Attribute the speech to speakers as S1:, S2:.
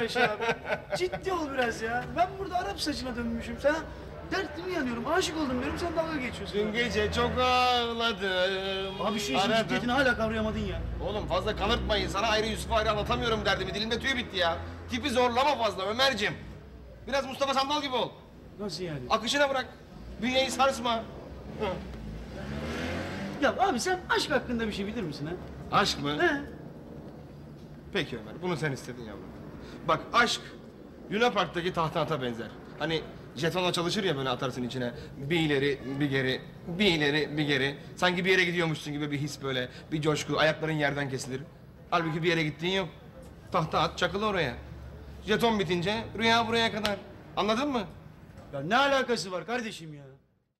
S1: Ayşe abi. Ciddi ol biraz ya. Ben burada Arap saçına dönmüşüm. Sana dertimi yanıyorum. Aşık oldum diyorum. Sen dalga geçiyorsun.
S2: Dün gece çok ağladım.
S1: Abi şu işin
S2: aradım.
S1: ciddiyetini hala kavrayamadın ya.
S2: Oğlum fazla kanırtmayın. Sana ayrı Yusuf ayrı anlatamıyorum derdimi. Dilimde tüy bitti ya. Tipi zorlama fazla Ömer'cim. Biraz Mustafa Sandal gibi ol.
S1: Nasıl yani?
S2: Akışına bırak. Bünyeyi sarsma. Hı.
S1: Ya abi sen aşk hakkında bir şey bilir misin ha?
S2: Aşk mı?
S1: He?
S2: Peki Ömer, bunu sen istedin yavrum. Bak aşk, Luna Park'taki tahtanta benzer. Hani jetonla çalışır ya böyle atarsın içine. Bir ileri, bir geri, bir ileri, bir geri. Sanki bir yere gidiyormuşsun gibi bir his böyle. Bir coşku, ayakların yerden kesilir. Halbuki bir yere gittiğin yok. Tahta at, çakıl oraya. Jeton bitince rüya buraya kadar. Anladın mı?
S1: Ya ne alakası var kardeşim ya?